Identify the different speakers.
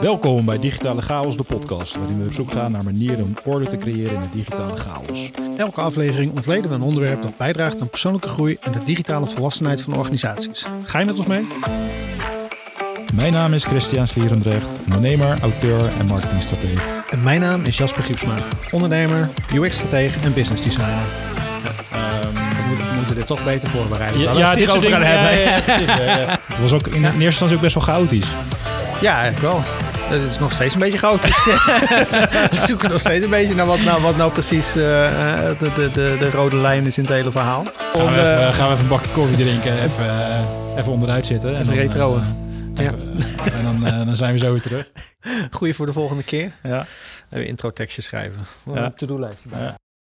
Speaker 1: Welkom bij Digitale Chaos, de podcast, waarin we op zoek gaan naar manieren om orde te creëren in de digitale chaos.
Speaker 2: Elke aflevering ontleden we een onderwerp dat bijdraagt aan persoonlijke groei en de digitale volwassenheid van organisaties. Ga je met ons mee?
Speaker 1: Mijn naam is Christian Slierendrecht, ondernemer, auteur en marketingstratege.
Speaker 2: En mijn naam is Jasper Giepsma, ondernemer, UX-stratege en business designer.
Speaker 3: Ehm, We moeten dit toch beter voorbereiden.
Speaker 1: Ja,
Speaker 3: dan als we het
Speaker 1: dit soort
Speaker 3: hierover
Speaker 1: dingen.
Speaker 3: gaan
Speaker 1: Ja,
Speaker 3: hebben.
Speaker 1: ja, ja, dit, ja, ja. Het was ook in, in eerste instantie ook best wel chaotisch.
Speaker 2: Ja, eigenlijk wel. Het is nog steeds een beetje chaotisch. we zoeken nog steeds een beetje naar wat nou, wat nou precies eh, eh, de, de, de, de rode lijn is in het hele verhaal.
Speaker 1: Om,
Speaker 3: Gaan we,
Speaker 1: eh,
Speaker 3: even, gaan we even een bakje koffie drinken. Even, eh, even onderuit zitten. en
Speaker 2: Even
Speaker 3: dan,
Speaker 2: retroen.
Speaker 3: eh,
Speaker 2: Ja.
Speaker 3: eh, en dan, eh, dan zijn we zo weer terug.
Speaker 2: Goeie voor de volgende keer.
Speaker 1: Ja.
Speaker 2: Even intro tekstje schrijven.
Speaker 1: Ja.
Speaker 2: Een to-do lijstje bij.
Speaker 1: Ja.